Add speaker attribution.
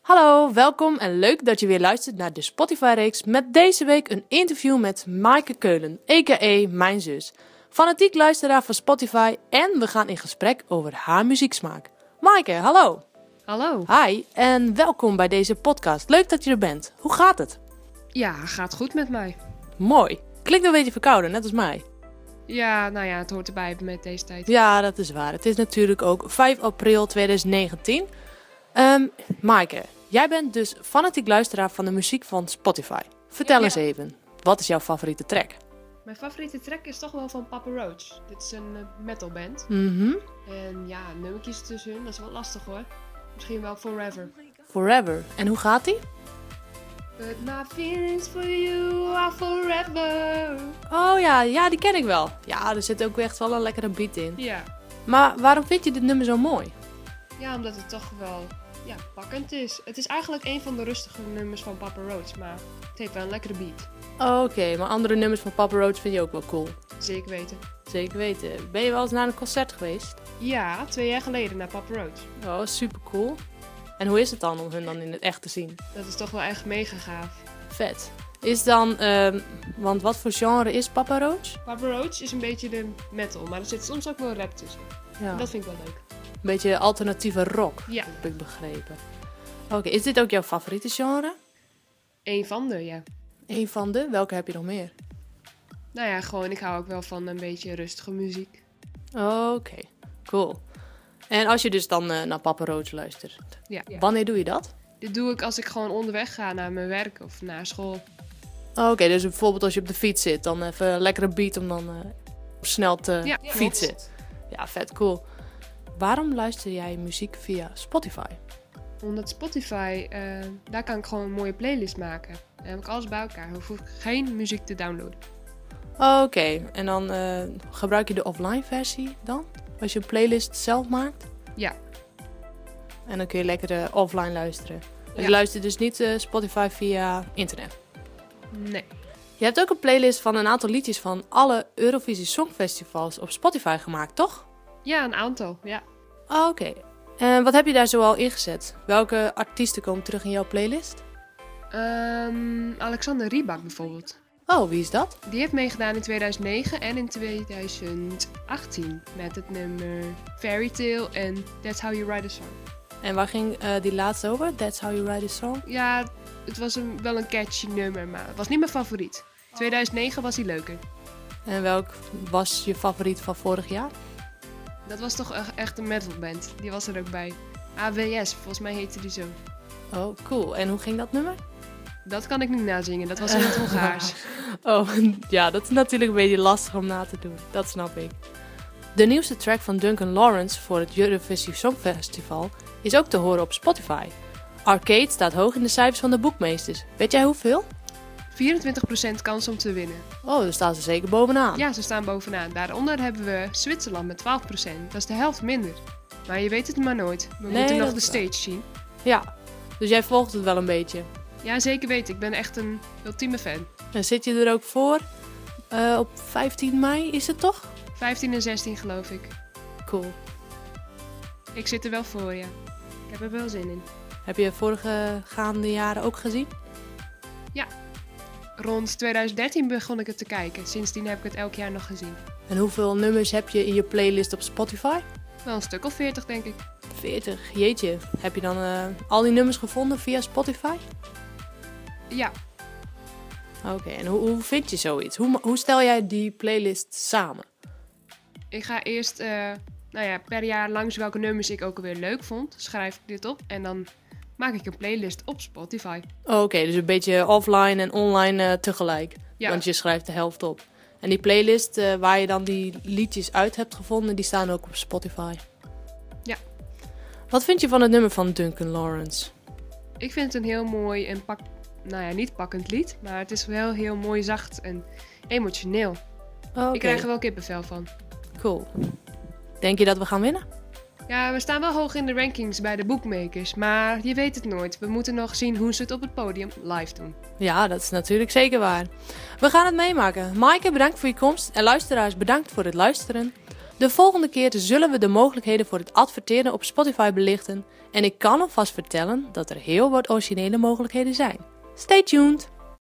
Speaker 1: Hallo, welkom en leuk dat je weer luistert naar de Spotify-reeks met deze week een interview met Maaike Keulen, a.k.a. Mijn Zus. Fanatiek luisteraar van Spotify en we gaan in gesprek over haar muzieksmaak. Maaike, hallo.
Speaker 2: Hallo.
Speaker 1: Hi en welkom bij deze podcast. Leuk dat je er bent. Hoe gaat het?
Speaker 2: Ja, gaat goed met mij.
Speaker 1: Mooi. Klinkt een beetje verkouden, net als mij.
Speaker 2: Ja, nou ja, het hoort erbij met deze tijd.
Speaker 1: Ja, dat is waar. Het is natuurlijk ook 5 april 2019. Ehm Maaike, jij bent dus fanatiek luisteraar van de muziek van Spotify. Vertel
Speaker 2: Ja.
Speaker 1: eens even, wat is jouw favoriete track?
Speaker 2: Mijn favoriete track is toch wel van Papa Roach. Dit is een eh, metalband.
Speaker 1: Mhm.
Speaker 2: En ja, nummer kiezen tussen hun, dat is wel lastig hoor. Misschien wel Forever.
Speaker 1: Forever. En hoe gaat die?
Speaker 2: But my feelings for you are forever.
Speaker 1: Oh ja, ja, die ken ik wel. Ja, er zit ook echt wel een lekkere beat in.
Speaker 2: Ja.
Speaker 1: Maar waarom vind je dit nummer zo mooi?
Speaker 2: Ja, omdat het toch wel ja, pakkend is. Het is eigenlijk een van de rustige nummers van Papa Roach, maar het heeft wel een lekkere beat.
Speaker 1: Oké, maar andere nummers van Papa Roach vind je ook wel cool.
Speaker 2: Zeker weten.
Speaker 1: Zeker weten. Ben je wel eens naar een concert geweest?
Speaker 2: Ja, twee jaar geleden naar Papa Roach.
Speaker 1: Oh, super cool. En hoe is het dan om hun dan in het echt te zien?
Speaker 2: Dat is toch wel echt mega gaaf.
Speaker 1: Vet. Is dan, ehm, want wat voor genre is Papa Roach?
Speaker 2: Papa Roach is een beetje de metal, maar er zit soms ook wel rap tussen.
Speaker 1: Ja.
Speaker 2: Dat vind ik wel leuk.
Speaker 1: Een beetje alternatieve rock,
Speaker 2: Ja.
Speaker 1: heb ik begrepen. Oké, is dit ook jouw favoriete genre?
Speaker 2: Eén van de, ja.
Speaker 1: Een van de? Welke heb je nog meer?
Speaker 2: Nou ja, gewoon, ik hou ook wel van een beetje rustige muziek.
Speaker 1: Oké, cool. En als je dus dan eh, naar Papa Roach luistert,
Speaker 2: Ja.
Speaker 1: wanneer doe je dat?
Speaker 2: Dit doe ik als ik gewoon onderweg ga naar mijn werk of naar school.
Speaker 1: Oké, dus bijvoorbeeld als je op de fiets zit, dan even een lekkere beat om dan eh, snel te
Speaker 2: Ja,
Speaker 1: fietsen.
Speaker 2: klopt.
Speaker 1: Ja, vet cool. Waarom luister jij muziek via Spotify?
Speaker 2: Omdat Spotify, eh, daar kan ik gewoon een mooie playlist maken. Dan heb ik alles bij elkaar. Dan hoef ik geen muziek te downloaden.
Speaker 1: Oh, Oké, en dan eh, gebruik je de offline versie dan? Als je een playlist zelf maakt?
Speaker 2: Ja.
Speaker 1: En dan kun je lekker eh, offline luisteren. Dus
Speaker 2: Ja.
Speaker 1: Je luistert dus niet eh, Spotify via internet.
Speaker 2: Nee.
Speaker 1: Je hebt ook een playlist van een aantal liedjes van alle Eurovisie Songfestivals op Spotify gemaakt, toch? Oh,
Speaker 2: Ja, een aantal, ja.
Speaker 1: Oké. En wat heb je daar zoal ingezet? Welke artiesten komen terug in jouw playlist?
Speaker 2: Ehm, Alexander Riebak bijvoorbeeld.
Speaker 1: Oh, wie is dat?
Speaker 2: Die heeft meegedaan in 2009 en in 2018 met het nummer Fairy Tale en That's How You Write a Song.
Speaker 1: En waar ging eh, die laatste over? That's How You Write a Song?
Speaker 2: Ja, het was een, wel een catchy nummer, maar het was niet mijn favoriet.
Speaker 1: Oh.
Speaker 2: 2009 was hij leuker.
Speaker 1: En welk was je favoriet van vorig jaar?
Speaker 2: Dat was toch e- echt een metalband. Die was er ook bij. AWS, volgens mij heette die zo.
Speaker 1: Oh, cool. En hoe ging dat nummer?
Speaker 2: Dat kan ik niet nazingen, dat was in het Hongaars.
Speaker 1: Oh, ja, dat is natuurlijk een beetje lastig om na te doen. Dat snap ik. De nieuwste track van Duncan Lawrence voor het Eurovisie Songfestival is ook te horen op Spotify. Arcade staat hoog in de cijfers van de boekmeesters. Weet jij hoeveel?
Speaker 2: 24% kans om te winnen.
Speaker 1: Oh, daar staan ze zeker bovenaan.
Speaker 2: Ja, ze staan bovenaan. Daaronder hebben we Zwitserland met 12%. Dat is de helft minder. Maar je weet het maar nooit. We moeten nog
Speaker 1: dat
Speaker 2: de
Speaker 1: is waar.
Speaker 2: stage zien.
Speaker 1: Ja, Dus jij volgt het wel een beetje.
Speaker 2: Ja, zeker weten. Ik ben echt een ultieme fan.
Speaker 1: En zit je er ook voor? Eh, op 15 mei is het toch?
Speaker 2: 15 en 16 geloof ik.
Speaker 1: Cool.
Speaker 2: Ik zit er wel voor, ja. Ik heb er wel zin in.
Speaker 1: Heb je vorige gaande jaren ook gezien?
Speaker 2: Rond 2013 begon ik het te kijken. Sindsdien heb ik het elk jaar nog gezien.
Speaker 1: En hoeveel nummers heb je in je playlist op Spotify?
Speaker 2: Wel een stuk of 40, denk ik.
Speaker 1: 40, jeetje. Heb je dan eh, al die nummers gevonden via Spotify?
Speaker 2: Ja,
Speaker 1: Oké, en hoe, hoe vind je zoiets? Hoe, ma- hoe stel jij die playlist samen?
Speaker 2: ik ga eerst eh, nou ja, per jaar langs welke nummers ik ook alweer leuk vond. Schrijf ik dit op en dan maak ik een playlist op Spotify.
Speaker 1: Oké, dus een beetje offline en online eh, tegelijk.
Speaker 2: Ja,
Speaker 1: Want je schrijft de helft op. En die playlist eh, waar je dan die liedjes uit hebt gevonden, die staan ook op Spotify.
Speaker 2: Ja.
Speaker 1: Wat vind je van het nummer van Duncan Lawrence?
Speaker 2: ik vind het een heel mooi en pak... Nou ja, niet pakkend lied, maar het is wel heel mooi zacht en emotioneel.
Speaker 1: Oké,
Speaker 2: Ik krijg er wel kippenvel van.
Speaker 1: cool. Denk je dat we gaan winnen?
Speaker 2: Ja, we staan wel hoog in de rankings bij de bookmakers, maar je weet het nooit. We moeten nog zien hoe ze het op het podium live doen.
Speaker 1: Ja, dat is natuurlijk zeker waar. We gaan het meemaken. Maaike, bedankt voor je komst. En luisteraars, bedankt voor het luisteren. De volgende keer zullen we de mogelijkheden voor het adverteren op Spotify belichten en ik kan alvast vertellen dat er heel wat originele mogelijkheden zijn. Stay tuned!